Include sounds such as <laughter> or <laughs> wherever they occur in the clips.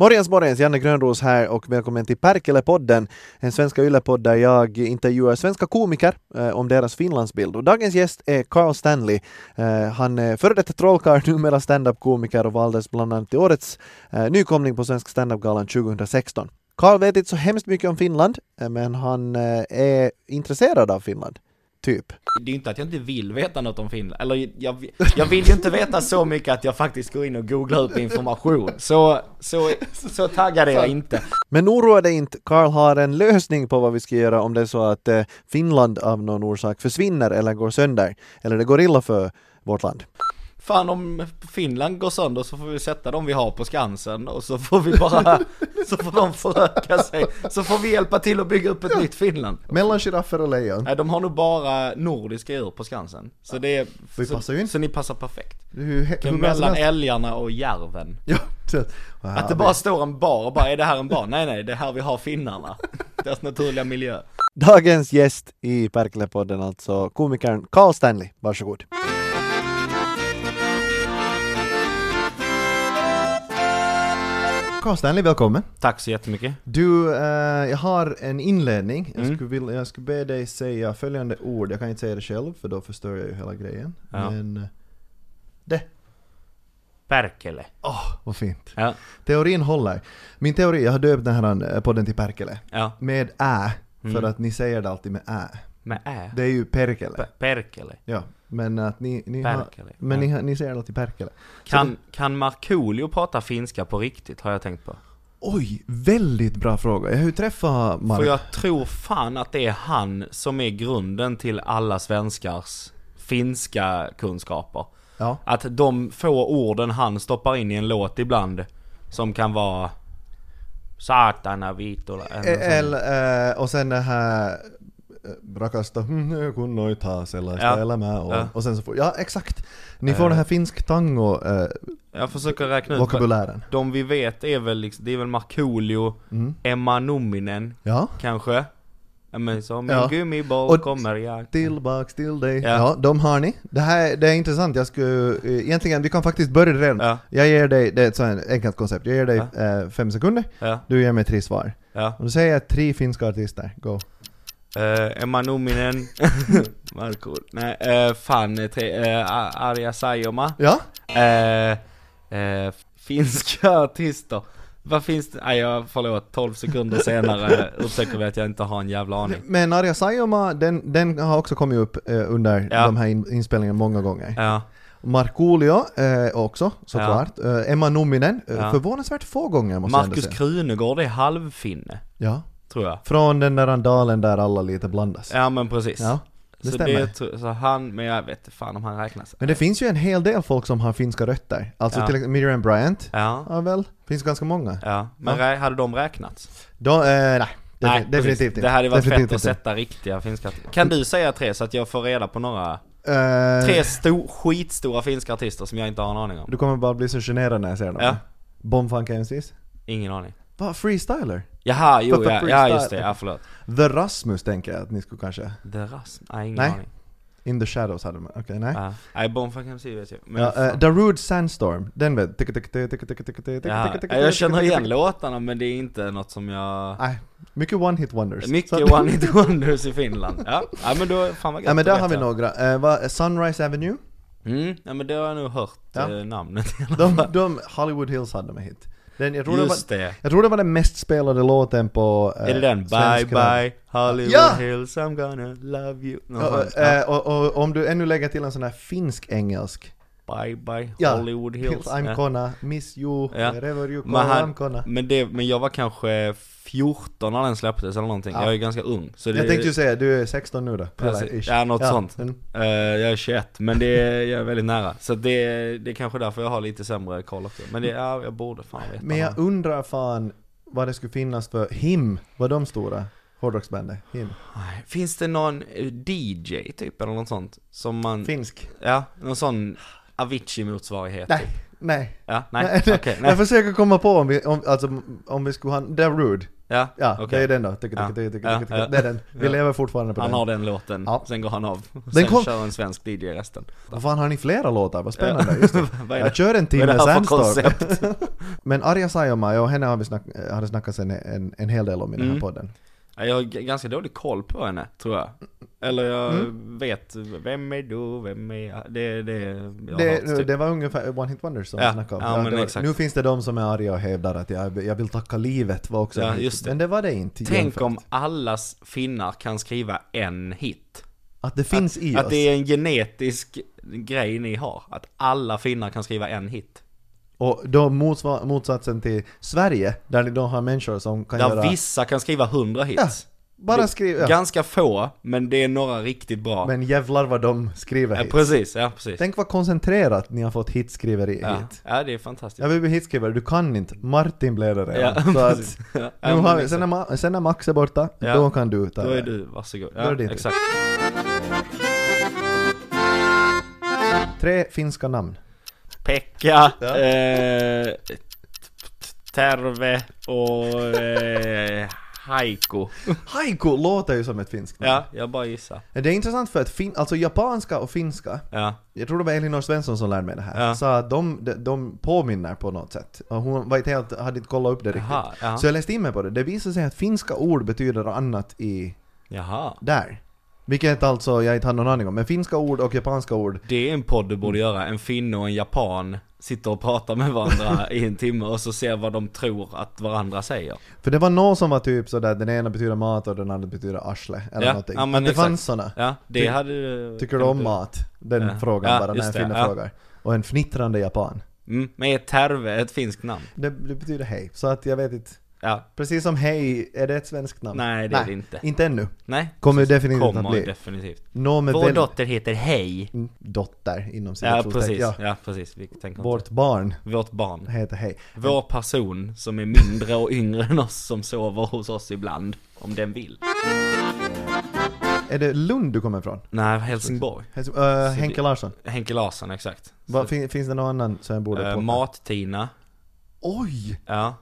Morgens, morgens! Janne Grönros här och välkommen till Perkele-podden, en svenska yllepodd där jag intervjuar svenska komiker eh, om deras Finlandsbild. Och dagens gäst är Carl Stanley. Eh, han är före detta trollkarl, <laughs> numera standup-komiker och valdes bland annat till årets eh, nykomling på Svenska standup-galan 2016. Carl vet inte så hemskt mycket om Finland, eh, men han eh, är intresserad av Finland. Typ. Det är ju inte att jag inte vill veta något om Finland, eller jag, jag vill ju inte veta så mycket att jag faktiskt går in och googlar upp information. Så, så, så taggad är jag inte. Men oroa dig inte, Karl har en lösning på vad vi ska göra om det är så att eh, Finland av någon orsak försvinner eller går sönder, eller det går illa för vårt land. Fan om Finland går sönder så får vi sätta dem vi har på Skansen och så får vi bara, så får de föröka sig. Så får vi hjälpa till att bygga upp ett nytt Finland. Mellan giraffer och lejon. Nej, de har nog bara nordiska djur på Skansen. Så det är, Vi så, passar ju in. så ni passar perfekt. Det är ju he- hur bra som Mellan helst. älgarna och järven. <laughs> Ja, det- Wow, Att det bara står en bar och bara, är det här en bar? Nej nej, det är här vi har finnarna. Deras naturliga miljö. Dagens gäst i Perkele-podden alltså, komikern Carl Stanley. Varsågod. Carl Stanley, välkommen. Tack så jättemycket. Du, eh, jag har en inledning. Mm. Jag skulle, vilja, jag skulle be dig säga följande ord. Jag kan inte säga det själv för då förstör jag ju hela grejen. Ja. Men... eh, Det. Perkele. Åh, vad fint. Ja. Teorin håller. Min teori, jag har döpt den här eh, podden till Perkele. Ja. Med ä. För Mm. att ni säger det alltid med ä. Med ä. Det är ju Perkele. Pe- Perkele. Ja, men att ni... ni har, Perkele, men ja. ni, har- ni säger det alltid Perkele. Så det- Kan, kan Markoolio prata finska på riktigt, har jag tänkt på. Oj, väldigt bra fråga. Jag har ju träffat Mark. För jag tror fan att det är han som är grunden till alla svenskars finska kunskaper. Ja. Att de få orden han stoppar in i en låt ibland, som kan vara Satana vitola El, eh, och sen det här eh, rakasta "Mm, kun noi taas sellaista Ja. elämää on. Ja. Eh. Och sen så får, ja exakt. Ni får den här finsk tango eh, Jag försöker räkna ut. vad- vokabulären. De vi vet är väl liksom, det är väl Markoolio, Mm. Emma Numminen Ja. kanske? Ja men som en Ja. gummiboll Och- kommer jag Tillbaks till dig. Ja. Ja. de har ni. Det här det är intressant, jag skulle, eh, egentligen, vi kan faktiskt börja redan. Ja. Jag ger dig, det är ett sånt här enkelt koncept, jag ger dig eh, fem sekunder, Ja, du ger mig tre svar. ja. Och då säger jag tre finska artister, go. Eh, Emma <laughs> Numminen, Marko, nej, eh, fan, eh, tre, eh, A- Arja Saijonmaa. Ja? Eh, eh, finska <laughs> artister. Vad finns det? Nej jag, förlåt, 12 sekunder <laughs> senare upptäcker vi att jag inte har en jävla aning. Men Arja Saijonmaa, den, den har också kommit upp eh, under Ja. de här in, inspelningarna många gånger. Ja, Markoolio eh, också såklart. Eh, Emma Numminen, eh, Ja. förvånansvärt få gånger måste jag ändå Markus säga. Krunegård är halvfinne, Ja. tror jag. Från den där dalen där alla lite blandas. Ja men precis. Ja, det så stämmer. Det, tro- så han, men jag vet inte fan om han räknas. Men det finns ju en hel del folk som har finska rötter. Alltså Ja. till exempel Miriam Bryant. Ja, Ja väl, finns ganska många. ja. Men rä- hade de räknats? De, eh, nej, defi- Nej, precis. definitivt inte. Det hade varit definitivt fett att sätta riktiga finska artister. Kan du säga tre så att jag får reda på några? Eh, Tre sto- skitstora finska artister som jag inte har en aning om. Du kommer bara bli så generad när jag säger dem. Ja. Bombfunk MCs. Ingen aning. Va, freestyler? Jaha, jo För- ja, för ja freestyle. just det, ja förlåt. The Rasmus tänker jag att ni skulle kanske... The Rasm, nej ingen Nej. aning. In the Shadows hade man, okej nej. Ja. Nej, Bonfire kan se vet jag. Men Ja, fan. eh, Darude Sandstorm, den vet tick, tick, tick, tick, tick, tick, tick, tick, Jaha. tick, tick, Ja, jag tick, känner tick, igen tick. låtarna men det är inte något som jag... Nej, mycket one hit wonders. Ah, Så- Mycket One Hit Wonders i Finland. Ja, ja men då, fan vad gött, <laughs> Ja men då där vet har vi jag. några. Eh, vad- Sunrise Avenue, <laughs> Mm, ja men det har jag nog hört Ja. eh, namnet de, de Hollywood Hills hade med hit. Den, jag, tror det var, Just det. jag tror det var den mest spelade låten på... eh, Är det den? Bye svenska- bye Hollywood Ja! Hills I'm gonna love you. Nå, Ja, fan. eh, och, och, om du ännu lägger till en sån här finsk-engelsk. bye bye Ja, Hollywood Hills. Hills I'm Ja. gonna miss you, Ja. wherever you go, Men, I'm han, gonna. men, det, men jag var kanske 14 när den släpptes eller någonting. Ja. Jag är ganska ung. Så det, Jag tänkte ju säga, du är 16 nu då? Precis. Eller, ish. Ja, något sånt. mm. Eh, jag är 21, men det är, jag är väldigt nära. Så det, det är kanske därför jag har lite sämre koll också. Men det, ja, jag borde fan veta. Men jag undrar fan vad det skulle finnas för HIM, var de stora hårdrocksbandet? HIM. Nej, Finns det någon eh, DJ typ eller något sånt? Som man... Finsk? ja, någon sån Avicii-motsvarighet? Nej, typ. nej. Ja, nej, okej, nej. <laughs> Jag försöker komma på om vi, om, alltså, om vi skulle ha, Darude, Ja, Ja, okej. det är den då. Tycker, Ja. tycker, tycker, tycker, Ja, tycker. ja. Det är den. Vi Ja. lever fortfarande på Han den. har den låten, Ja. sen går han av. Den Sen kom- kör en svensk DJ resten. Vad fan har ni flera låtar? Vad spännande. Just det. Vad är Jag det, kör en vad är det timme här för Sandstorm. koncept? <laughs> Men Arja Saijonmaa, och henne har vi snack, eh, hade snackats en, en, en hel del om i den här Mm. podden. Ja, Jag har g- ganska dålig koll på henne, tror jag. Eller jag vet, vem är du, vem är jag? Det, det, jag har hört, Det, typ. det var ungefär One Hit Wonders som Ja, vi snackade om. ja, men det var, exakt. Nu finns det de som är arga och hävdar att jag, jag vill tacka livet var också Ja, en hit. just det. Men det var det inte. Tänk jämfört. om alla finnar kan skriva en hit. Att det finns i Att oss. det är en genetisk grej ni har. Att alla finnar kan skriva en hit. Och då motsva- motsatsen till Sverige, där ni då har människor som kan Där göra... vissa kan skriva hundra hits. Bara Det- skriva. Ja. Ganska få, men det är några riktigt bra. Men jävlar vad de skriver ja, hit. precis, ja precis. Tänk vad koncentrerat ni har fått hitskriveri Ja. hit. ja, det är fantastiskt. Jag vill bli hitskrivare, du kan inte. Martin blev det redan. Ja, <laughs> Så att, precis. Ja, <laughs> nu men har vi, exakt. sen, när Ma- sen när Max är borta, Ja. då kan du ta Då är det. du, varsågod. Då Ja, är det din tur. exakt. Tre finska namn. Pekka, Ja. eh, t- t- Terve och eh, <laughs> Haiko. Haiku låter ju som ett finskt namn. Ja, jag bara gissar. Det är intressant för att fin- alltså japanska och finska, Ja, jag tror det var Elinor Svensson som lärde mig det här, Ja. så att de, de, de påminner på något sätt. Och hon var inte helt, hade inte kollat upp det riktigt. jaha, jaha. Så jag läste in mig på det, det visar sig att finska ord betyder annat i jaha. där. Vilket alltså jag inte har någon aning om, men finska ord och japanska ord Det är en podd du borde göra, en finne och en japan sitter och pratar med varandra i en timme och så ser vad de tror att varandra säger. För det var någon som var typ sådär, den ena betyder mat och den andra betyder arsle eller Ja, någonting. ja, men Att det exakt. fanns såna. Ja, det Ty- hade du... Tycker du om mat? Den Ja. frågan Ja, bara när just en det, finne ja. frågar. Och en fnittrande japan. Mm, men är Terve ett finskt namn? Det, det betyder hej, så att jag vet inte. Ja, Precis som hej, är det ett svenskt namn? nej det är det inte. Inte ännu. Nej, Kommer definitivt att kommer bli. definitivt. Nå med Vår väl... dotter heter Hej. Mm, Dotter inom Ja, citationstecken. precis. Ja. Ja. precis. Vi tänker Vårt... Vårt barn Vårt barn. heter hej. Vår person som är mindre och yngre än oss som sover hos oss ibland. Om den vill. Är det Lund du kommer ifrån? Nej, Helsingborg. Helsing- det- äh, Henke Larsson? Henke Larsson, exakt. Vad- fin, finns det någon annan som jag borde Eh, plocka? Mat-Tina. Oj! Ja.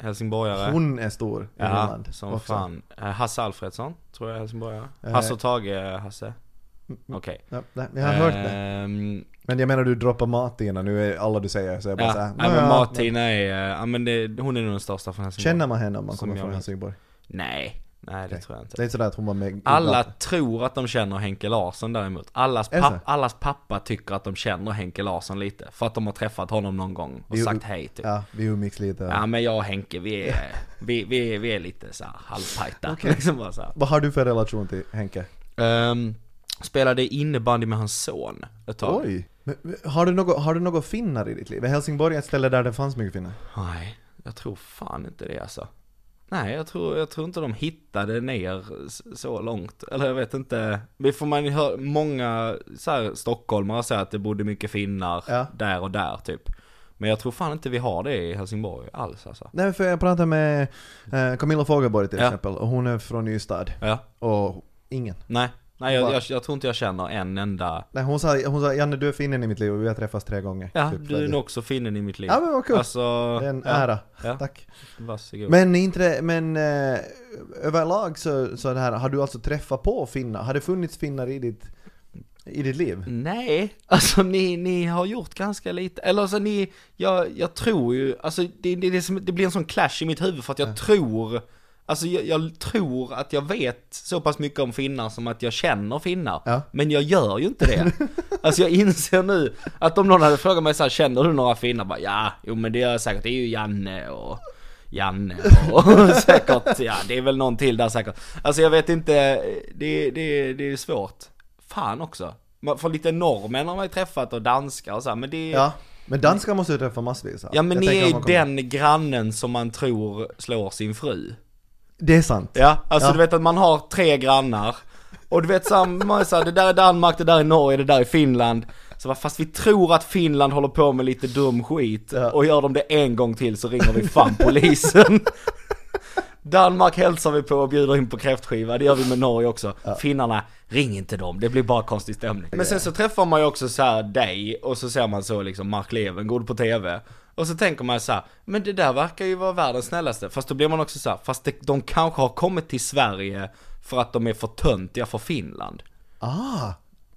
Helsingborgare. Hon är stor i ja, Finland. som också. fan. Eh, Hasse Alfredsson, tror jag är helsingborgare. Eh. Hasse och Tage, eh, Hasse. Okej. Ja, nej, jag har hört det. Ehm, Men jag menar du droppar Martina, nu är alla du säger så jag bara Ja, så här, nej, men "Nå, Martina är, eh, ja men det, hon är nog den största från Helsingborg. Känner man henne om man Som kommer jag från vet. Helsingborg? Nej, nej det tror jag inte. Det är sådär att hon var med Alla tror att de känner Henke Larsson däremot. Allas, Är det så? papp, allas pappa tycker att de känner Henke Larsson lite. För att de har träffat honom någon gång och Jo. sagt hej typ. Ja. Ja, vi umgicks lite. men jag och Henke vi är, vi, vi, är- vi är lite såhär halvtajta. <laughs> Okej. Liksom bara så här. Vad har du för relation till Henke? Ehm, spelade innebandy med hans son ett tag. Oj! Men, men, har, du något, har du något finnar i ditt liv? Är Helsingborg ett ställe där det fanns mycket finnar? Nej, jag tror fan inte det alltså. Nej, jag tror, jag tror inte de hittade ner s- så långt. Eller jag vet inte. Vi får man hör många så här, stockholmare säger att det bodde mycket finnar Ja. där och där typ. Men jag tror fan inte vi har det i Helsingborg alls alltså. Nej, för jag pratade med eh, Camilla Fogelborg till Ja. exempel, och hon är från Ystad. Ja, Och ingen. nej. Nej, jag, Va? jag, jag tror inte jag känner en enda. Nej, hon sa, hon sa Janne du är finnen i mitt liv och vi har träffats tre gånger. Ja, Typ, du så är att- nog också finnen i mitt liv. Ja men vad kul! Alltså, det är en ja, ära. ja. Tack. Varsågod. Men inte det, men eh, överlag så, så det här, har du alltså träffat på finnar? Har det funnits finnar i ditt, i ditt liv? Nej, alltså ni, ni har gjort ganska lite, eller alltså ni, jag, jag tror ju, alltså det, det, det, är som- det blir en sån clash i mitt huvud för att jag tror, alltså jag, jag tror att jag vet så pass mycket om finnar som att jag känner finnar, Ja. men jag gör ju inte <laughs> det. alltså jag inser nu att om någon hade frågat mig så här, känner du några finnar? Bara, ja, jo men det gör jag säkert, det är ju Janne och Janne och <laughs> säkert, ja det är väl någon till där säkert. Alltså jag vet inte, det, det, det är svårt. Fan också. Man får lite norrmän har man ju träffat och danskar och så här, men det... Ja, Ja. Men danskar måste du träffa massvis av. ja men Jag ni tänker är om ju man kommer- den grannen som man tror slår sin fru. Det är sant. Ja, alltså Ja. du vet att man har tre grannar. Och du vet så här, man är så här, det där är Danmark, det där är Norge, det där är Finland. Så vad- fast vi tror att Finland håller på med lite dum skit. Ja. Och gör de det en gång till så ringer vi fan polisen. Danmark hälsar vi på och bjuder in på kräftskiva, det gör vi med Norge också. Finnarna, ring inte dem, det blir bara konstig stämning. Men sen så träffar man ju också så här dig, och så ser man så liksom Mark Levengood på TV. Och så tänker man så här, men det där verkar ju vara världens snällaste. Fast då blir man också så här, fast det, de kanske har kommit till Sverige för att de är för töntiga för Finland. Ah!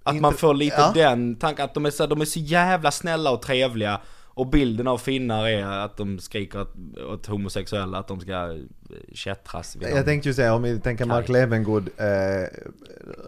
Att man får lite den tanken, att de är, så, de är så jävla snälla och trevliga och bilden av finnar är att de skriker åt, åt homosexuella att de ska eh, kättras vid dem. Jag tänkte ju säga, om vi tänker Mark Levengood, eh,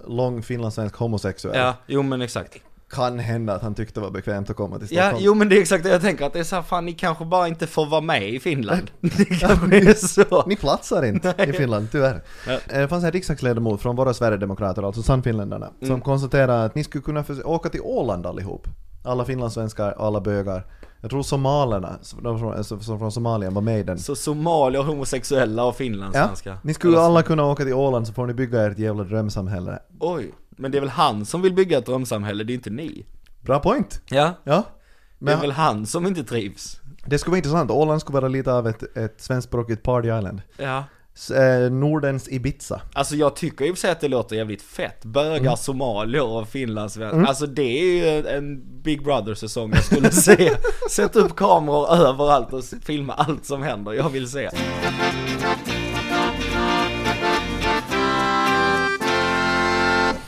lång finlandssvensk homosexuell. Ja, jo men exakt. Kan hända att han tyckte det var bekvämt att komma till Ja, Stockholm. jo men det är exakt det jag tänker, att det är så här, fan ni kanske bara inte får vara med i Finland. <laughs> Det kanske är så. Ni platsar <laughs> inte i Finland, tyvärr. Eh, Det fanns en riksdagsledamot från våra Sverigedemokrater, alltså Sannfinländarna, Mm. som konstaterade att ni skulle kunna förs- åka till Åland allihop. Alla finlandssvenskar och alla bögar. Jag tror somalerna, som- de från, eh, som som från Somalia, var med i den. Så somalier, homosexuella och finlandssvenskar. Ni skulle alla kunna åka till Åland så får ni bygga ert jävla drömsamhälle. Oj, men det är väl han som vill bygga ett drömsamhälle, det är inte ni? Bra point! Ja, Ja. det är Men väl han som inte trivs? det skulle vara intressant, Åland skulle vara lite av ett, ett svenskspråkigt party island. Ja. S- eh, Nordens Ibiza. Alltså jag tycker ju för sig att det låter jävligt fett. Bögar, somalier och finlandssvenskar. Alltså det är ju en Big Brother-säsong jag skulle <laughs> se. Sätt upp kameror överallt och s- filma allt som händer. Jag vill se.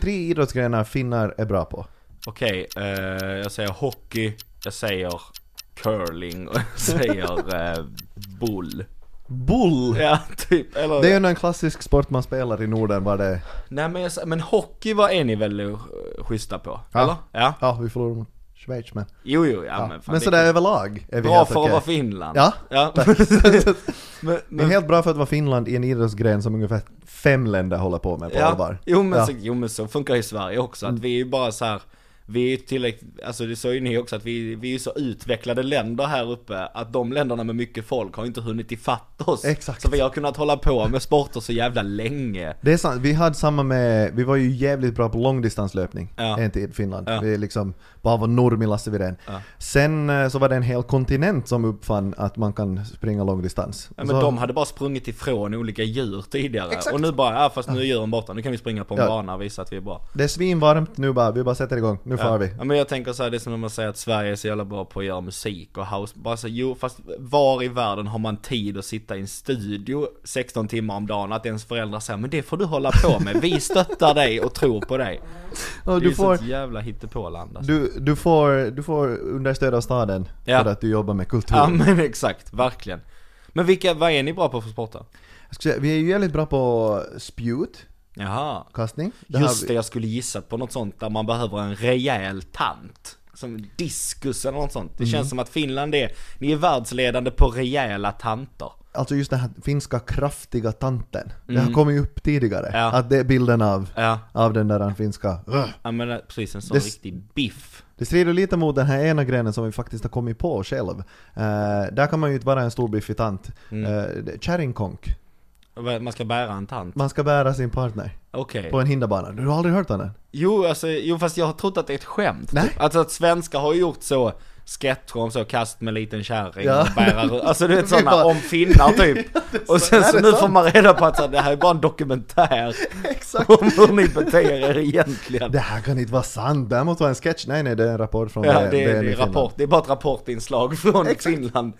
Tre idrottsgrenar finnar är bra på. Okej, eh, jag säger hockey, jag säger curling och <laughs> jag säger eh, bull. Bull! Ja, typ. Eller, Det är ju en klassisk sport man spelar i Norden var det... Nej men, jag, sä- men hockey var är ni väl eh, schyssta på? Ja. Eller? Ja. Ja, vi förlorade mot Schweiz men... Jo, jo, ja, Ja. men fan, men det- sådär överlag är vi Bra helt för att okej. vara Finland. Ja, <laughs> tack. <laughs> men, Det är helt bra för att vara Finland i en idrottsgren som ungefär fem länder håller på med på allvar. Jo men, Ja. Mm. Så, jo men så funkar ju Sverige också, att vi är ju bara så här. Vi är ju tillräckligt, alltså det sa ju ni också att vi, vi är ju så utvecklade länder här uppe att de länderna med mycket folk har inte hunnit ifatt oss. Exakt. Så vi har kunnat hålla på med sporter så jävla länge. Det är sant, vi hade samma med, vi var ju jävligt bra på långdistanslöpning Ja. en tid i Finland. Ja. Vi liksom bara var norm i Lasse Widén. Sen eh, så var det en hel kontinent som uppfann att man kan springa långdistans. Ja, men Så- de hade bara sprungit ifrån olika djur tidigare. Och nu bara, ja fast nu är djuren borta, nu kan vi springa på en Ja. bana och visa att vi är bra. Det är svinvarmt nu bara, vi bara sätter igång, nu far vi. Ja men jag tänker så här, det är som när man säger att Sverige är så jävla bra på att göra musik och house, bara så, jo fast var i världen har man tid att sitta i en studio 16 timmar om dagen, att ens föräldrar säger men det får du hålla på med, vi stöttar dig och tror på dig. det Och är du ju får, sånt jävla hittepåland alltså. du, du, får, du får understöd av staden Ja. för att du jobbar med kultur. Ja men exakt, verkligen. Men vilka, vad är ni bra på för sporter? Jag skulle säga, vi är ju jävligt bra på spjut, Jaha. kastning. Det har Just vi- det, jag skulle gissa på något sånt där man behöver en rejäl tant. Som diskus eller något sånt. Det Mm. känns som att Finland är, ni är världsledande på rejäla tanter. Alltså just den här finska kraftiga tanten. Det har kommit upp tidigare. Mm. Ja. Att det är bilden av, Ja. av den där finska... "Ugh." Ja men eh, precis, en sån Det s- riktig biff. Det strider lite mot den här ena grenen som vi faktiskt har kommit på själv. Eh, där kan man ju inte vara en stor biffig tant. Mm. Eh, det- Kärringkonk. Och vad- Man ska bära en tant. Man ska bära sin partner Okej. på en hinderbana. Du har aldrig hört om den? Jo, alltså, jo fast jag har trott att det är ett skämt. Nej. Typ. Alltså att svenskar har ju gjort så sketcher om så kast med liten kärring Ja. och bära runt. Alltså <laughs> du vet Vi sådana bara- om finnar <laughs> typ. och sen så nu får man reda på att så, här, det här är bara en dokumentär. <laughs> Exakt. Om hur ni beter er egentligen. Det här kan inte vara sant, det här måste vara en sketch. Nej, nej, det är en rapport från Ja, V- det, är- VM det, i är Finland. rapport, det är bara ett rapportinslag <laughs> från Exakt. Finland.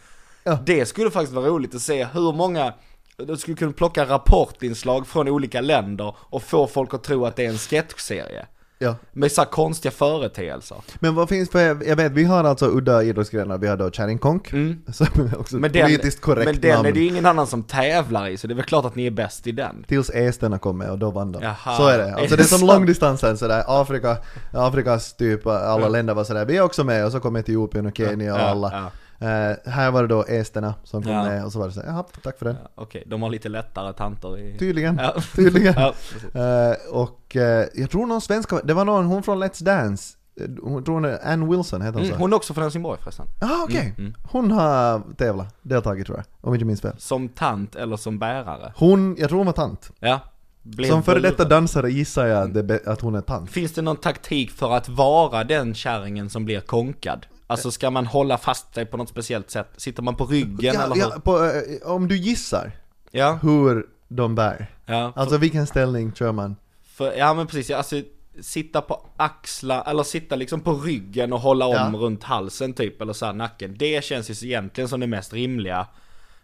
Ja. Det skulle faktiskt vara roligt att se hur många, du skulle kunna plocka rapportinslag från olika länder och få folk att tro att det är en sketchserie. Ja. Med så här konstiga företeelser. Men vad finns för, jag vet, vi har alltså udda idrottsgrenar, vi har då kärringkonk, <laughs> som är också Mm. Men ett den, politiskt korrekt men den namn. är det ju ingen annan som tävlar i, så det är väl klart att ni är bäst i den. Tills esterna kommer och då vann de. Jaha. Så är det. Alltså Är det är det som sant? långdistansen sådär, Afrika, Afrikas typ alla länder var sådär, vi är också med och så kom Etiopien och Kenya och Ja, alla. Eh, här var det då esterna som kom Ja. med och så var det såhär, jaha, tack för den. Ja, Okej, de har lite lättare tanter i... Tydligen. Ja. <laughs> Tydligen. Ja, precis. Eh, och eh, jag tror någon svenska, det var någon, hon från Let's Dance, eh, hon tror hon är Ann Wilson heter hon Mm, så. hon är också från Helsingborg förresten. Ah, okej. Hon har tävlat, deltagit tror jag, om jag inte minns fel. Som tant eller som bärare. Hon, jag tror hon var tant. Ja. Blev Som före detta lurad. dansare gissar jag att det är bä- att hon är tant. Finns det någon taktik för att vara den kärringen som blir konkad? Alltså ska man hålla fast sig på något speciellt sätt? Sitter man på ryggen Ja, eller ja, hur? på, eh, om du gissar Ja, hur de bär. ja. För, Alltså vilken ställning kör man? för, ja men precis, alltså sitta på axlar, eller sitta liksom på ryggen och hålla om Ja. runt halsen typ, eller så här nacken. Det känns ju så egentligen som det mest rimliga.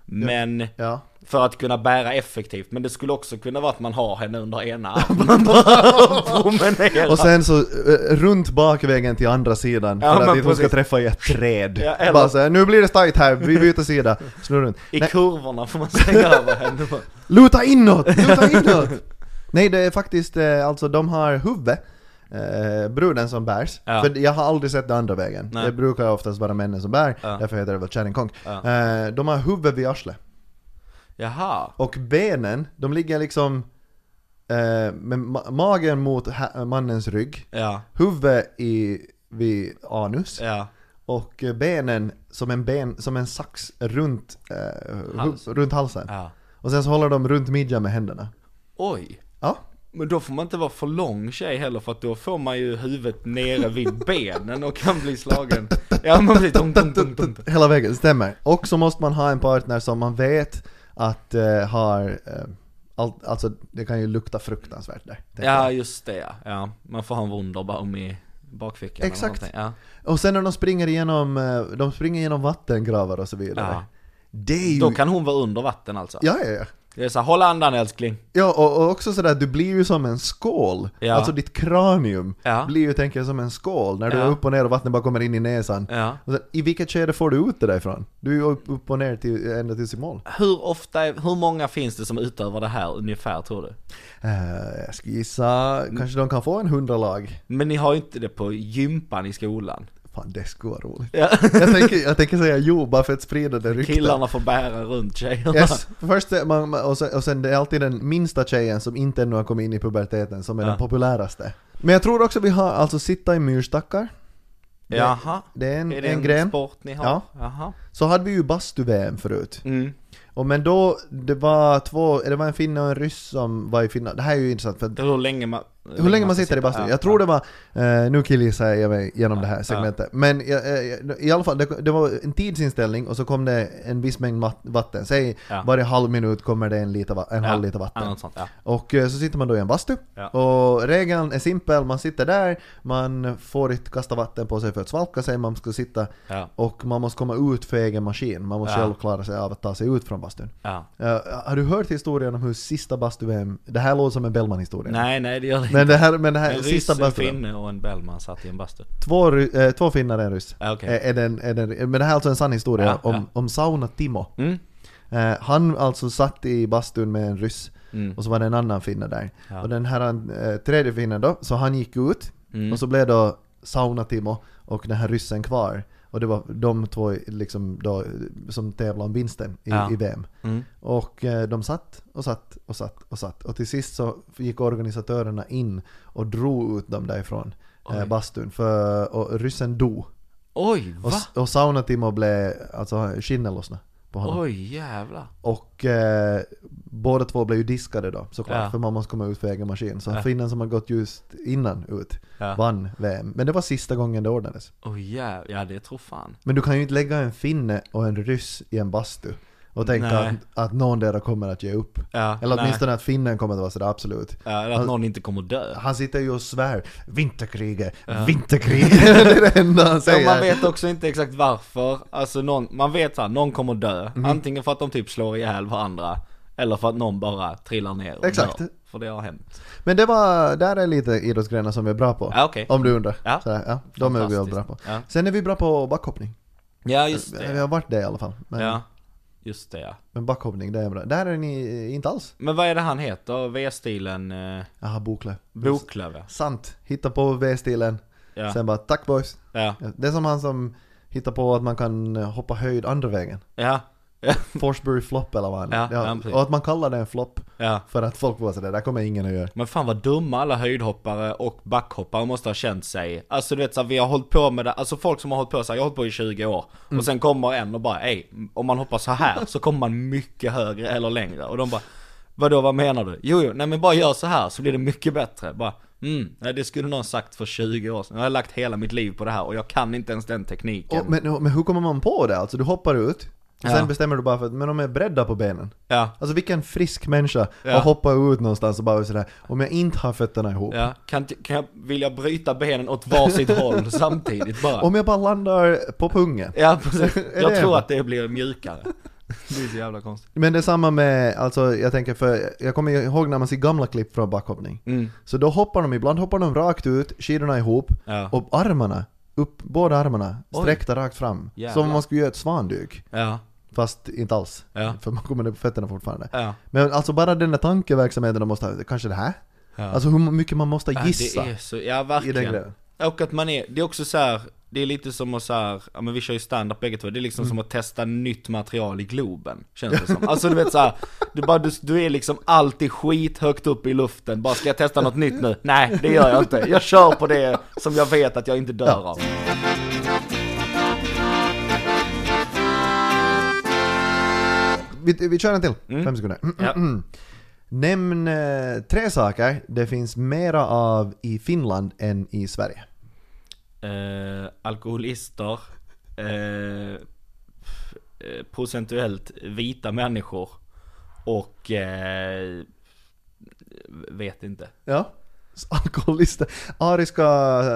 Men Ja. för att kunna bära effektivt, men det skulle också kunna vara att man har henne under <laughs> ena armen och promenerar. Och sen så eh, runt bakvägen till andra sidan Ja, för men att inte hon ska precis. träffa i ett träd. Ja, eller- Bara så här, nu blir det tajt här, vi byter sida. Snurra runt. I Nej, kurvorna får man svänga över <laughs> henne. luta inåt! Luta inåt! Nej, det är faktiskt eh, alltså de har huvud. Eh, bruden som bärs. Ja. För jag har aldrig sett det andra vägen. Nej. Det brukar oftast vara männen som bär, Ja. därför heter det väl Channing Kong. Ja. Eh, de har huvud vid arslet. Jaha. Och benen, de ligger liksom eh, med ma- magen mot ha- mannens rygg. Ja, Huvudet i, vid anus ja. och eh, benen som en, ben, som en sax runt, eh, hu- Hals. runt halsen. ja. Och sen så håller de runt midjan med händerna. Oj. Ja, Men då får man inte vara för lång tjej heller för att då får man ju huvudet nere vid <laughs> benen och kan bli slagen. Ja man blir tung, tung, tung, tung. hela vägen, stämmer. Och så måste man ha en partner som man vet att eh, har, eh, all, alltså det kan ju lukta fruktansvärt där. tänker Ja jag. just. just det ja. ja. Man får ha en Wunderbaum i bakfickan eller Exakt. någonting. Ja. Och sen när de springer igenom, eh, de springer igenom vattengravar och så vidare. Ja. Det är ju... Då kan hon vara under vatten alltså. Ja, ja, ja. Det är såhär, håll andan älskling. Ja, och, och också sådär, du blir ju som en skål. Ja. Alltså ditt kranium Ja. blir ju, tänker jag, som en skål när du Ja. är upp och ner och vattnet bara kommer in i näsan. Ja. Och sen, I vilket skede får du ut det därifrån? Du är ju upp, upp och ner till, ända tills i mål. Hur ofta, är- hur många finns det som utövar det här ungefär tror du? Eh, jag ska gissa, Mm. kanske de kan få en hundralag? Men ni har ju inte det på gympan i skolan. Fan, det skulle vara roligt. Ja. Jag tänker, jag tänker säga jo, bara för att sprida det ryktet. Killarna får bära runt tjejerna. Yes. Först, är man, man- och, sen, och sen det är alltid den minsta tjejen som inte ännu har kommit in i puberteten som är Ja. den populäraste. Men jag tror också vi har, alltså sitta i myrstackar. Det- Jaha. Det är en, Är det en, en gren. sport ni har? Ja. Jaha. Så hade vi ju bastu-VM förut. Mm. Och men då, det var två, det var en finne och en ryss som var i Finland. Det här är ju intressant för att Det är hur länge man... hur länge man sitter i bastun. Ja, Jag tror ja. det var, eh, nu killgissar jag mig genom det här ja. segmentet. Men jag, eh, i alla fall, det, det var en tidsinställning och så kom det en viss mängd mat, vatten. Säg Ja. varje halv minut kommer det en, liter, va- en halv liter Ja, vatten. något sånt, ja. Och eh, så sitter man då i en bastu. Ja. Och regeln är simpel, man sitter där, man får inte kasta vatten på sig för att svalka sig, man ska sitta Ja. och man måste komma ut för egen maskin. Man måste Ja. själv klara sig av att ta sig ut från bastun. ja. Eh, har du hört historien om hur sista bastu Det här låter som en Bellman-historia. Nej, nej det gör det inte. Men det här, men det här en ryss, sista en bastu finne och en bellman satt i en bastu. två, ry- eh, två finnar och en ryss. Ja, okej. Eh, är den, är den, men det här är alltså en sann historia Ja, om, ja. om Sauna Timo. Mm. Eh, han alltså satt i bastun med en ryss Mm. och så var det en annan finne där. Ja. Och den här eh, tredje finnen då, så han gick ut Mm. och så blev då Saunatimo och den här ryssen kvar. Och det var de två liksom då, som tävlade om vinsten i, Ja. i VM. Mm. Och eh, de satt och satt och satt och satt. Och till sist så gick organisatörerna in och drog ut dem därifrån eh, Oj. bastun. För, och ryssen dog. Oj, va? Och, och Saunatimo blev, alltså skinnet lossnade på honom. Oj, jävlar. Och eh, båda två blev ju diskade då såklart, Ja. för man måste komma ut för egen maskin. Så Ja. finnen som har gått just innan ut Ja. vann VM. Men det var sista gången det ordnades. Oj, jävlar. Ja, det tror fan. Men du kan ju inte lägga en finne och en ryss i en bastu och tänka att, Nej. att någon där kommer att ge upp. Ja, Eller nej. åtminstone Alltså- att finnen kommer att vara sådär absolut. Ja, eller att någon inte kommer dö. Han sitter ju och svär vinterkriget, <laughs> vinterkriget. det är det enda han Ja, säger. man vet också inte exakt varför. Alltså någon, man vet att någon kommer dö. Mhm. Antingen för att de typ slår ihjäl varandra. Eller för att någon bara trillar ner och Exakt. dör. För det har hänt. Men det var, där är lite idrottsgrenar som vi är bra på. Ja, okej. Om du undrar. Ja. Sådär, ja, de är vi väl Fantastiskt. bra på. Ja. Sen är vi bra på backhoppning. Ja, just det. Vi har varit det i alla fall. Men, Ja, just det ja. men backhoppning, det är bra. Där är ni eh, inte alls. Men vad är det han heter? V-stilen eh, Jaha, Boklöv. Boklöv ja. Sant. Hitta på V-stilen. Ja. Sen bara tack boys. Ja. Ja, Det är som han som hittar på att man kan eh, hoppa höjd <laughs> andra vägen. Ja. Ja. Forsbury flop eller vad han Ja, ja, precis. Och att man kallar det en flopp ja. för att folk var sådär, där kommer ingen att göra. Men fan vad dumma alla höjdhoppare och backhoppare måste ha känt sig. Alltså du vet så här, vi har hållit på med det, alltså folk som har hållit på så här, jag har hållit på i 20 år. Och sen kommer en och bara, ey, om man hoppar så här så kommer man mycket högre eller längre. Och de bara, vadå vad menar du? Jo, jo, nej men bara gör så här så blir det mycket bättre. Bara, mm, nej, det skulle någon sagt för 20 år sedan. Jag har lagt hela mitt liv på det här och jag kan inte ens den tekniken. Och, men, men hur kommer man på det? Alltså du hoppar ut, Och sen bestämmer du bara för att, men de är bredda på benen. Ja. Alltså vilken frisk människa Ja. har hoppat ut någonstans och bara sådär, om jag inte har fötterna ihop. Ja, kan, inte- kan jag, vill jag bryta benen åt varsitt <laughs> håll samtidigt bara? Om jag bara landar på pungen. <laughs> Ja, precis. Jag det tror bra? att det blir <laughs> mjukare. Det är så jävla konstigt. Men det är samma med, alltså jag tänker för, jag kommer ihåg när man ser gamla klipp från backhoppning. Mm. Så då hoppar de, ibland hoppar de rakt ut, skidorna ihop Ja. och armarna, upp, båda armarna Oj. sträckta rakt fram. Jävlar. Som om man skulle göra ett svandyk. Ja, Fast inte alls. Ja. <laughs> För man kommer ner på fötterna fortfarande. ja. Men alltså bara den där tankeverksamheten de måste ha, kanske det här? Ja. Alltså hur mycket man måste Ja, gissa Det är så, ja i den verkligen. grejen. Och att man är, det är också så här, det är lite som att så här, ja men vi kör ju stand-up bägge två, det är liksom Mm. som att testa nytt material i Globen, känns det som. Alltså du vet så här, du, bara, du, du är liksom alltid skithögt upp i luften, bara ska jag testa något nytt nu? Nej, det gör jag inte. Jag kör på det som jag vet att jag inte dör Ja. av. Vi, vi kör en till, fem sekunder. Mm. <clears throat> Mm. Ja. Nämn eh, tre saker det finns mera av i Finland än i Sverige. Eh, alkoholister, eh, f- eh, procentuellt vita människor och eh, vet inte. Ja. Alkoholister. Ariska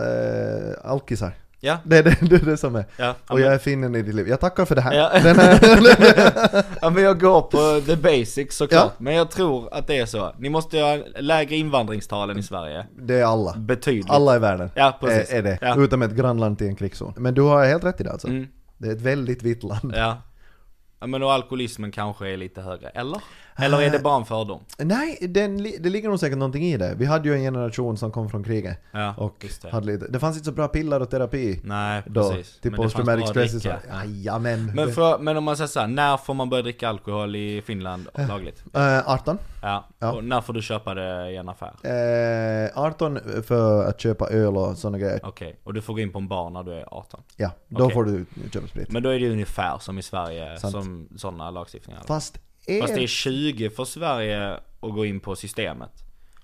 eh, alkisar. Ja, Det är det, det, är det som är. ja. Och jag är finnen i ditt liv. Jag tackar för det här. Ja. Den här <laughs> <laughs> Ja men jag går på the basics såklart, Ja. men jag tror att det är så. Ni måste ju ha lägre invandringstalen i Sverige. det är alla. Betydligt. Alla i världen Ja, precis. är, är det. Ja. Utom ett grannland till en krigszon. Men du har helt rätt i det alltså. Mm. Det är ett väldigt vitt land. Ja. ja men och alkoholismen kanske är lite högre, eller? Eh. Eller är det bara en fördom? Nej, den, li- det ligger nog säkert någonting i det. Vi hade ju en generation som kom från kriget. Ja, och just det. hade lite, det fanns inte så bra piller och terapi. Nej Då, precis. typ Men det post fanns traumatic bra stress. och dricka. så. Ja. Jajamän. Men, Det- för, men om man säger såhär, när får man börja dricka alkohol i Finland lagligt? Eh, 18. Ja. Ja. Och när får du köpa det i en affär? Eh, 18 för att köpa öl och sådana grejer. Okej, och du får gå in på en bar när du är 18. Ja, då Okej. får du köpa sprit. Men då är det ungefär som i Sverige, Sant. som sådana lagstiftningar. Fast är... Fast det är 20 för Sverige att gå in på systemet.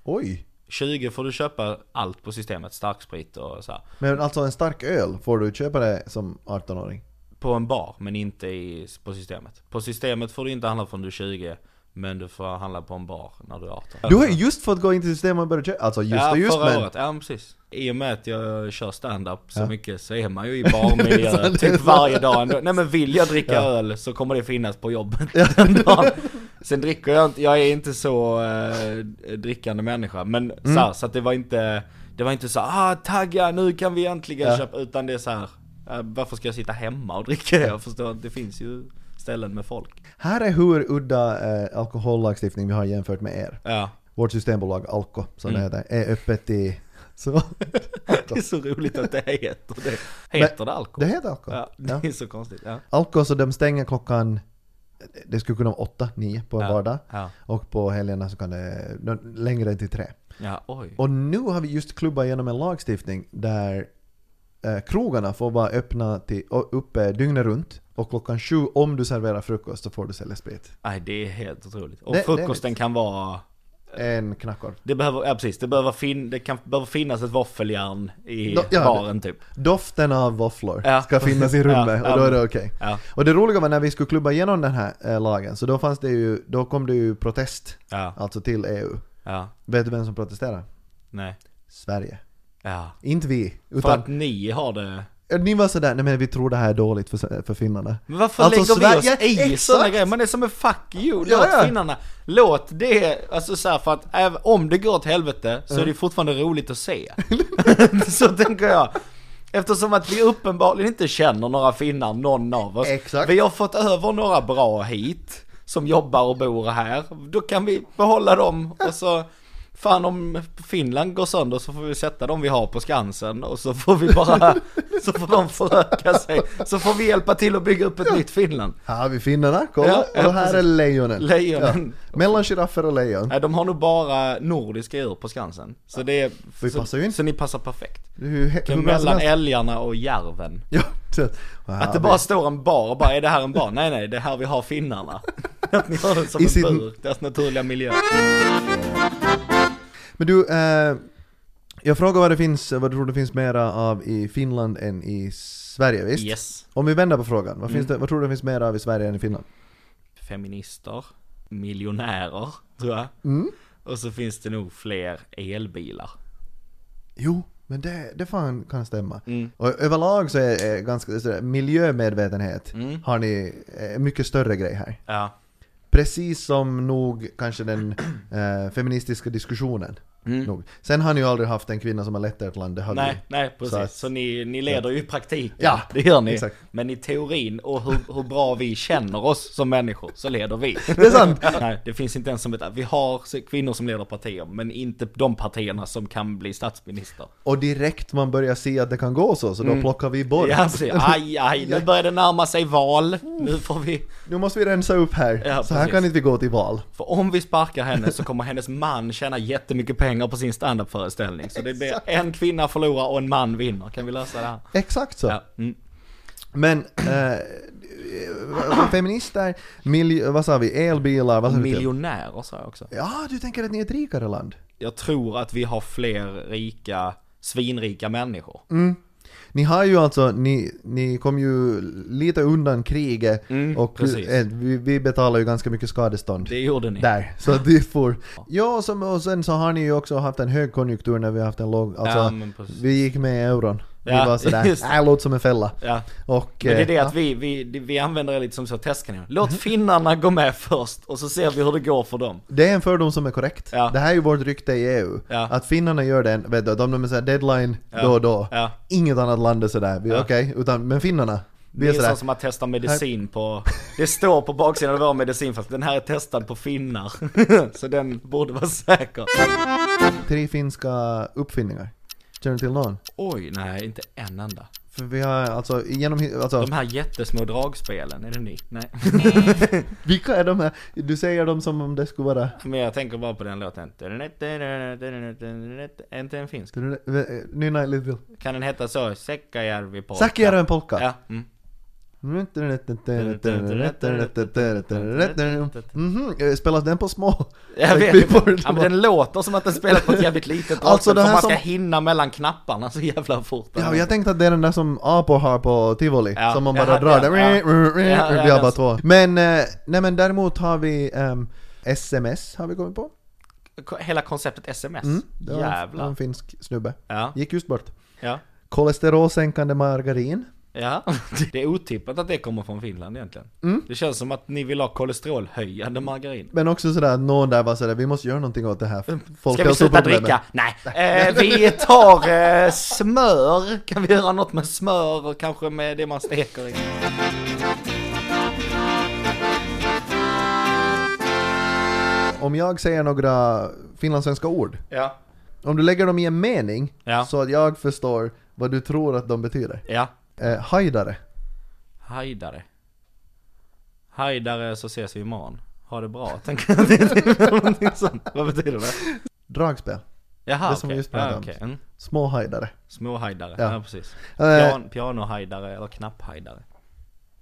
Oj! 20 får du köpa allt på systemet, starksprit och så här. Men alltså en stark öl, får du köpa det som 18-åring? På en bar, men inte i, på systemet. På systemet får du inte handla från du är 20, men du får handla på en bar när du är 18. Du har ju just fått gå in till systemet och börja köpa. Alltså just ja, och just förra men... året. Ja, men precis. I och med att jag kör stand-up så Ja. mycket så är man ju i <laughs> Det är barmiljö sant, det är typ sant. varje dag ändå. Nej men vill jag dricka Ja. öl så kommer det finnas på <laughs> jobbet den dagen. Sen dricker jag inte, jag är inte så eh, drickande människa. Men Mm. så, här, så att det var inte, det var inte så här, ah tagga nu kan vi äntligen Ja. köpa. Utan det är så här, eh, varför ska jag sitta hemma och dricka? Jag förstår att det finns ju ställen med folk. Här är hur udda eh, alkohollagstiftning vi har jämfört med er. Ja, Vårt systembolag Alko, som Mm. det heter, är öppet i... <laughs> Så, <laughs> det är så roligt att det heter det. Heter det alkohol? det heter Alko. Ja, det Ja. är så konstigt. Ja. Alko, så de stänger klockan... Det skulle kunna vara 8, 9 på en Ja, vardag. ja. Och på helgerna så kan det längre än till 3. Ja, oj. Och nu har vi just klubbat igenom en lagstiftning där eh, krogarna får vara öppna till, och uppe dygnet runt och klockan sju om du serverar frukost så får du sälja sprit. Nej, det är helt otroligt. Och Det- det är frukosten kan vara... En knackorv. Det behöver, ja precis, det behöver, fin, det kan, behöver finnas ett våffeljärn i Då- ja, baren typ. Doften av våfflor Ja. ska finnas i rummet <laughs> Ja, och då är det ja. okej. Ja, Och det roliga var när vi skulle klubba igenom den här eh, lagen så då, fanns det ju, då kom det ju protest, ja, alltså till EU. ja, Vet du vem som protesterade? nej, Sverige. ja. Inte vi. För Utan Eh, att ni har det... ni var sådär, nej men vi tror det här är dåligt för, för finnarna. Men varför Alltså, lägger vi oss Sverige- i exakt. sådana grejer? Man är som en fuck you, Ja, låt ja. finnarna. Låt det, alltså så här, för att även om det går åt helvete så är Mm. det fortfarande roligt att se. <laughs> så tänker jag. Eftersom att vi uppenbarligen inte känner några finnar, någon av oss. Exakt. Vi har fått över några bra hit, som jobbar och bor här. Då kan vi behålla dem och så... Fan om Finland går sönder så får vi sätta dem vi har på Skansen och så får vi bara, så får de föröka sig. Så får vi hjälpa till att bygga upp ett nytt Finland. Här har vi finnarna, kolla! Ja, ja, och här är precis. lejonen. Lejonen. Ja. Mellan giraffer och lejon. Nej, de har nog bara nordiska djur på Skansen. Så det är... Vi så, passar ju in. Så ni passar perfekt. Hur, hur Mellan mellan älgarna och järven. <laughs> Ja, så, Att det bara står en bar och bara, är det här en bar? Nej nej, det är här vi har <laughs> finnarna. Att ni har det som I en sin- bur, deras naturliga miljö. Men du, eh, Jag frågar vad det finns, vad du tror det finns mera av i Finland än i Sverige, visst? Yes. Mm. Om vi vänder på frågan, vad, finns det, vad tror du det finns mer av i Sverige än i Finland? Feminister. Miljonärer, tror jag. Mm. Och så finns det nog fler elbilar. Jo, men det, det fan kan stämma. Mm. Och överlag så är, är ganska, så där, miljömedvetenhet Mm. har ni eh, mycket större grej här. Ja. Precis som nog kanske den eh, feministiska diskussionen. Nog. Sen har ni ju aldrig haft en kvinna som har lett ert land, det har vi Mm. Nej, ju. nej precis. Så Så, att- ni, ni leder ju i praktiken. Ja, det gör ni. exakt. Men i teorin och hur, hur bra vi känner oss som människor så leder vi. <laughs> Det är sant! <laughs> nej, det finns inte ens som ett... Vi har se- kvinnor som leder partier, men inte de partierna som kan bli statsminister. Och direkt man börjar se att det kan gå så, så då plockar vi bort. Mm. Ja, så, aj, aj, nu börjar det närma sig val. Nu får vi... Nu måste vi rensa upp här. Ja, så här precis. kan inte vi gå till val. För om vi sparkar henne så kommer hennes man tjäna jättemycket pengar på sin standupföreställning. Så det blir en kvinna förlorar och en man vinner. Kan vi lösa det här? Exakt så. Ja. Mm. Men eh, <clears throat> feminister, miljö, vad sa vi, elbilar, vad sa du? till? Miljonärer sa jag också. Ja, du tänker att ni är ett rikare land? jag tror att vi har fler rika, svinrika människor. Ni har ju alltså, ni, ni kom ju lite undan kriget Mm, och precis. eh, vi, vi betalar ju ganska mycket skadestånd. Det gjorde ni. Där, så det får... Ja, och, som, och sen så har ni ju också haft en högkonjunktur när vi har haft en låg... Alltså, Ja, men precis. vi gick med i euron. Ja, vi var sådär, just det. nej, låt som en fälla. Ja. Och, Men det är eh, det att vi, vi, det- vi använder det lite som så testkanin. Låt finnarna gå med först och så ser vi hur det går för dem. Det är en fördom som är korrekt. Ja. Det här är ju vårt rykte i EU. Ja. Att finnarna gör den, vet du, de är såhär deadline Ja. då och då. Ja. Inget annat land är sådär, vi, Ja. okej, utan, men finnarna, Det vi är är så sådär. som att testa medicin på... Det står på baksidan av vår medicin fast den här är testad på finnar. <laughs> Så den borde vara säker. Tre finska uppfinningar. Känner du till någon? Oj, nej inte en enda. För vi har alltså, genom, alltså, De här jättesmå dragspelen, är det ni? Nej. <laughs> vilka är de här? Du säger dem som om det skulle vara... Men jag tänker bara på den låten. Är inte en finsk? Nynna lite till. Kan den heta så? Säckajärvi polka? Säkijärven polka! Ja. Mm. Mhm, eh, Spelas den på små? Jag vet keyboard? inte. Ja, men den låter som att den spelar på ett jävligt litet dragspel Alltså, det för här man ska som- hinna mellan knapparna så jävla fort. Ja, och jag tänkte att det är den där som apor har på tivoli, Ja, som man jag bara hade- drar ja, där. ja. Ja, ja, vi har bara den- två. Men, eh, nej men däremot har vi ehm, sms, har vi kommit på. Ko- Hela konceptet sms. Mm, Det var en- det var Jävlar. en finsk snubbe. Ja, Gick just bort. ja, Kolesterolsänkande margarin. <laughs> ja. Det är otippat att det kommer från Finland egentligen. Mm. Det känns som att ni vill ha kolesterolhöjande margarin. Men också sådär att någon där var sådär, vi måste göra någonting åt det här Mm. Ska vi sluta folkhälsoproblemet. dricka? Nej. Eh, vi tar eh, smör. Kan vi göra något med smör och kanske med det man steker i? Om jag säger några finlandssvenska ord, Ja. om du lägger dem i en mening Ja. så att jag förstår vad du tror att de betyder. Ja. Eh, hajdare. Hajdare. Hajdare så ses vi imorgon. Ha det bra, tänker jag. <laughs> Det är någonting sånt. Vad betyder det? Dragspel. Jaha, Det som vi okej. just pratade om. okej. Mm. Små hajdare. Småhajdare, Ja. ja. precis. Eh, Pian, pianohajdare eller knapphajdare.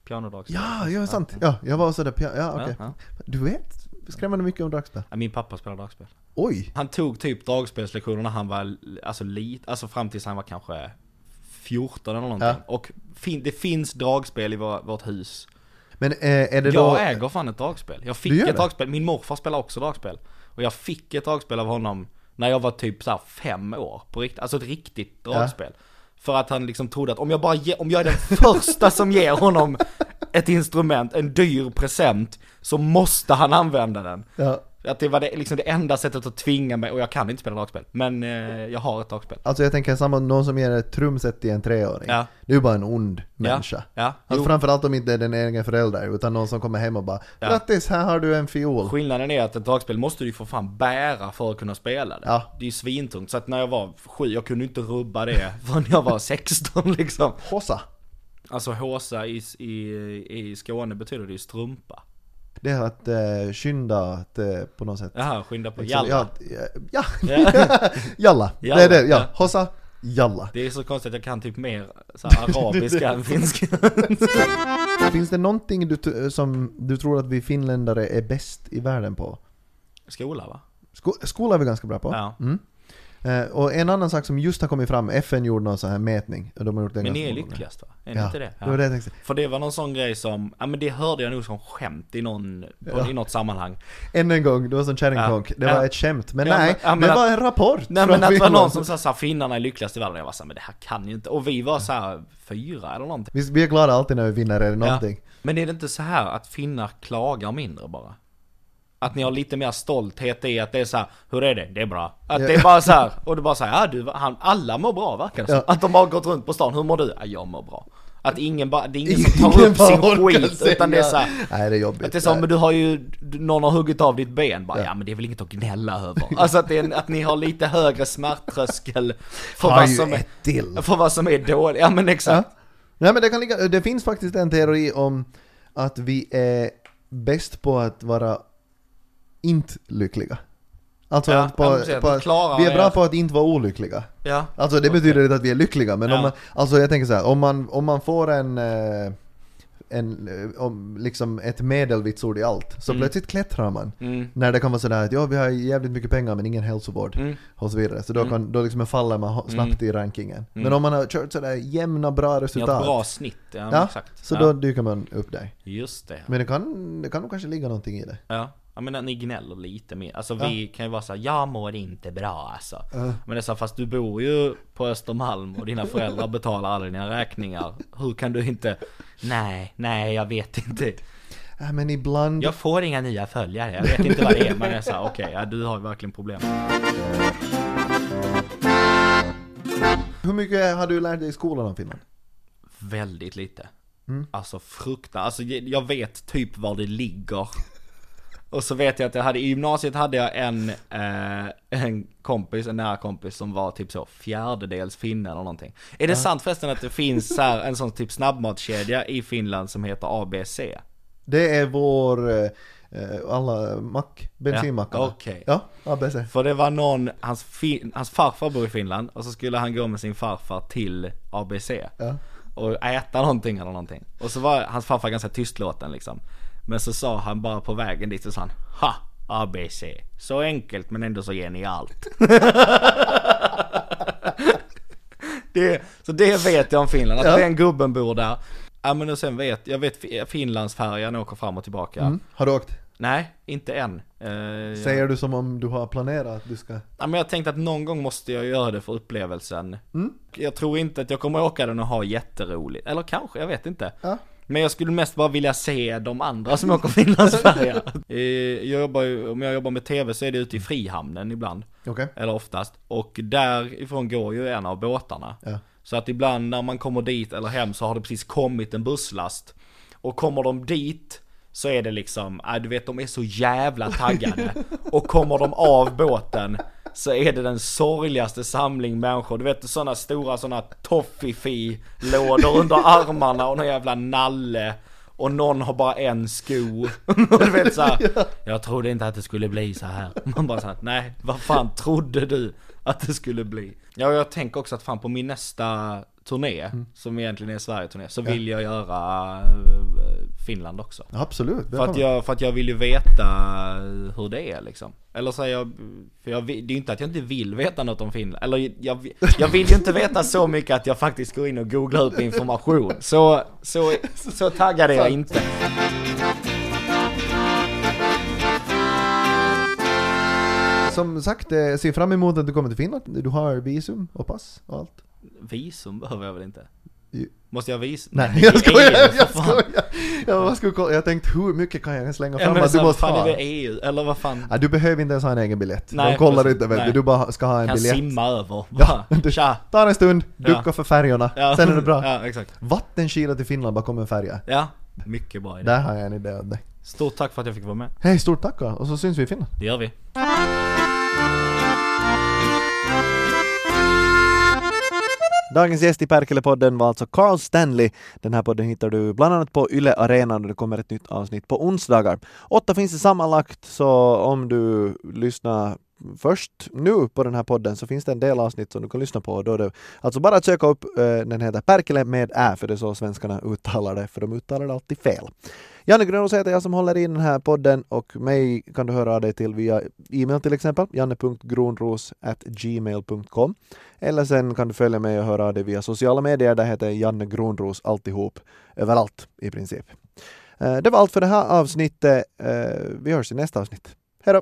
Pianodragspel. Ja, ja, sant. Ja, jag var sådär, pia- ja, okej. Ja, Du vet skrämmande mycket om dragspel. ja. Min pappa spelar dragspel. Oj! Han tog typ dragspelslektioner när han var l- alltså, lit, alltså fram tills han var kanske 14 eller någonting. Ja. Och fin, det finns dragspel i vår, vårt hus. Men eh, är det då... Jag äger fan ett dragspel. Jag Du fick gör ett det? dragspel, min morfar spelar också dragspel. Och jag fick ett dragspel av honom när jag var typ så här fem år. På rikt, alltså ett riktigt dragspel. För att han liksom trodde att om jag bara ge, om jag är den första som ger honom ett instrument, en dyr present, så måste han använda den. Ja, Att det var det, liksom det enda sättet att tvinga mig, och jag kan inte spela dragspel, men eh, jag har ett dragspel. alltså jag tänker samma, någon som ger ett trumset till en treåring. Ja. Det är ju bara en ond människa. ja, jo. Alltså framförallt om inte den egen förälder, utan någon som kommer hem och bara Ja. ”Grattis, här har du en fiol”. Skillnaden är att ett dragspel måste du ju för fan bära för att kunna spela det. Ja. Det är ju svintungt, så att när jag var sju, jag kunde inte rubba det <laughs> förrän jag var 16 liksom. Hossa! Alltså håsa i, i, i Skåne betyder det ju strumpa. Det är att eh, skynda att, eh, på något sätt. Jaha, skynda på, Liksom, jalla. Ja, ja. Ja. <laughs> jalla! Det är Jalla, det, ja. ja. Hossa, jalla. Det är så konstigt att jag kan typ mer så <laughs> här, arabiska än finska. Finns det någonting du, t- som du tror att vi finländare är bäst i världen på? Skola va? Sko- skola är vi ganska bra på. Ja. Mm. Eh, och en annan sak som just har kommit fram, FN gjorde någon sån här mätning. och De har gjort det Men ni ganska är många gånger. lyckligast va? Är ni Ja, inte det? det var det jag tänkte. För det var någon sån grej som, ja men det hörde jag nog som skämt i någon, på, i något sammanhang. Än en gång, det var som kärringkonk. Ja. Det var Ja. ett skämt. Men Ja, men- nej, ja, men det att- var en rapport Nej från men att det var Finland. någon som sa såhär, finnarna är lyckligast i världen. Jag var såhär, men det här kan ju inte. Och vi var såhär fyra eller någonting. vi, vi är glada alltid när vi vinner eller Ja. någonting. Men är det inte så här att finnar klagar mindre bara? Att ni har lite mer stolthet i att det är så här, hur är det? Det är bra. Att det är bara så här, och du bara säger, ja du, han, alla mår bra verkar det som. Ja. Att de bara gått runt på stan, hur mår du? Ja, jag mår bra. Att ingen bara, det är ingen som tar Ingen upp bara sin orkar skit, säga. utan det är så här, Nej, det är jobbigt. att det är så, Nej. men du har ju, du- någon har huggit av ditt ben bara, ja, men det är väl inget att gnälla över. <laughs> Alltså att, det är, en- att ni har lite högre smärttröskel för, Har vad ju som, är, ett till. för vad som är dåligt. Ja men Ja. exakt. Nej, men det, kan ligga, det finns faktiskt en teori om att vi är bäst på att vara inte lyckliga. Alltså Ja, att på, ja, men precis, på, att klara vi är bra er. på att inte vara olyckliga. Ja. Alltså det betyder inte att vi är lyckliga men Ja. om man, alltså jag tänker så här, om man, om man får en, eh, en eh, om, liksom ett medelvitsord i allt så plötsligt klättrar man. Mm. När det kan vara sådär att ja vi har jävligt mycket pengar men ingen hälsovård Mm. Mm. och så vidare. Så då, kan, då liksom faller man ho- snabbt i rankingen. Men om man har kört sådär jämna bra Ni har resultat. ett bra snitt, ja, men ja, exakt. Så ja. då dyker man upp där. Just det. Men det kan, det kan nog kanske ligga någonting i det. Ja. Jag menar ni gnäller lite mer. Alltså vi kan ju vara såhär, jag mår inte bra alltså. Men det är så här, fast du bor ju på Östermalm och dina föräldrar betalar alla dina räkningar. Hur kan du inte? Nej, nej jag vet inte. Äh, men ibland... Jag får inga nya följare, jag vet inte vad det är. Men jag är såhär, okej, ja, du har ju verkligen problem. Hur mycket har du lärt dig i skolan om Finland? Väldigt lite. Alltså fruktansvärt. Alltså jag jag vet typ var det ligger. Och så vet jag att jag hade, i gymnasiet hade jag en, eh, en kompis, en nära kompis som var typ så fjärdedels finne eller någonting. Är det sant förresten att det finns så här, en sån typ snabbmatskedja i Finland som heter ABC? Det är vår... eh, eh, Alla mack, bensinmackarna. Ja, okej. Ja, ABC. För det var någon, hans, fin, hans farfar bor i Finland och så skulle han gå med sin farfar till ABC. Och äta någonting eller någonting. Och så var hans farfar ganska tystlåten liksom. Men så sa han bara på vägen dit så sa han Ha! ABC. Så enkelt men ändå så genialt. <laughs> det, så det vet jag om Finland, att den gubben bor där. Ja men och sen vet, jag vet Fi- Finlandsfärjan åker fram och tillbaka. Mm. Har du åkt? Nej, inte än. Eh, Säger du som om du har planerat att du ska... Ja, men jag tänkte att någon gång måste jag göra det för upplevelsen. Jag tror inte att jag kommer åka den och ha jätteroligt. Eller kanske, jag vet inte. Ja. Men jag skulle mest bara vilja se de andra som åker Finlandsfärja. Eh, jag jobbar ju, om jag jobbar med TV så är det ute i Frihamnen ibland. Okej. Eller oftast. Och därifrån går ju en av båtarna. Ja. Så att ibland när man kommer dit eller hem så har det precis kommit en busslast. Och kommer de dit så är det liksom, äh, du vet de är så jävla taggade. Och kommer de av båten så är det den sorgligaste samling människor. Du vet sådana stora sådana toffifi-lådor under armarna och någon jävla nalle. Och någon har bara en sko. <laughs> Och du vet såhär, jag trodde inte att det skulle bli så här. <laughs> Man bara såhär, nej vad fan trodde du att det skulle bli? Ja jag tänker också att fan på min nästa turné, som egentligen är Sverige-turné, så vill jag göra eh, Finland också. Absolut. För att, jag, för att jag vill ju veta hur det är liksom. Eller så är jag, för jag, vill- det är ju inte att jag inte vill veta något om Finland. Eller jag, jag vill ju inte veta så mycket att jag faktiskt går in och googlar ut information. Så, så, så taggad är jag inte. Som sagt, eh, se fram emot att du kommer till Finland. Du har visum och pass och allt. Visum behöver jag väl inte? Jo. Måste jag ha visum? Nej, <laughs> jag skojar! EU, för Jag fan. skojar! Jag, bara skulle kolla. jag tänkte hur mycket kan jag slänga Ja, fram men att du så, måste fan, ha? är det EU? Eller vad fan? Ja, du behöver inte ens ha en egen biljett. Nej, De kollar precis. inte vet du, Nej. du bara ska ha en Kan biljett. simma över. Bara, Du tja. tar en stund, duckar Ja. för färjorna, Ja. sen är det bra. <laughs> Ja, exakt. Vattenkila till Finland bakom en färja. Ja, mycket bra idé. Där har jag en idé åt dig. Stort tack för att jag fick vara med. Hej, stort tack och så syns vi i Finland. Det gör vi. Dagens gäst i Perkele-podden var alltså Carl Stanley. Den här podden hittar du bland annat på Yle Arenan och det kommer ett nytt avsnitt på onsdagar. Åtta finns det sammanlagt, så om du lyssnar först nu på den här podden så finns det en del avsnitt som du kan lyssna på. Och då är det, alltså bara att söka upp, eh, den heter Perkele med Ä, för det är så svenskarna uttalar det, för de uttalar det alltid fel. Janne Grönros heter jag som håller i den här podden och mig kan du höra av dig till via e-mail till exempel, janne.gronros.gmail.com eller sen kan du följa mig och höra av dig via sociala medier, där heter Janne Grönros alltihop, överallt i princip. Eh, Det var allt för det här avsnittet. Eh, Vi hörs i nästa avsnitt. Hej då!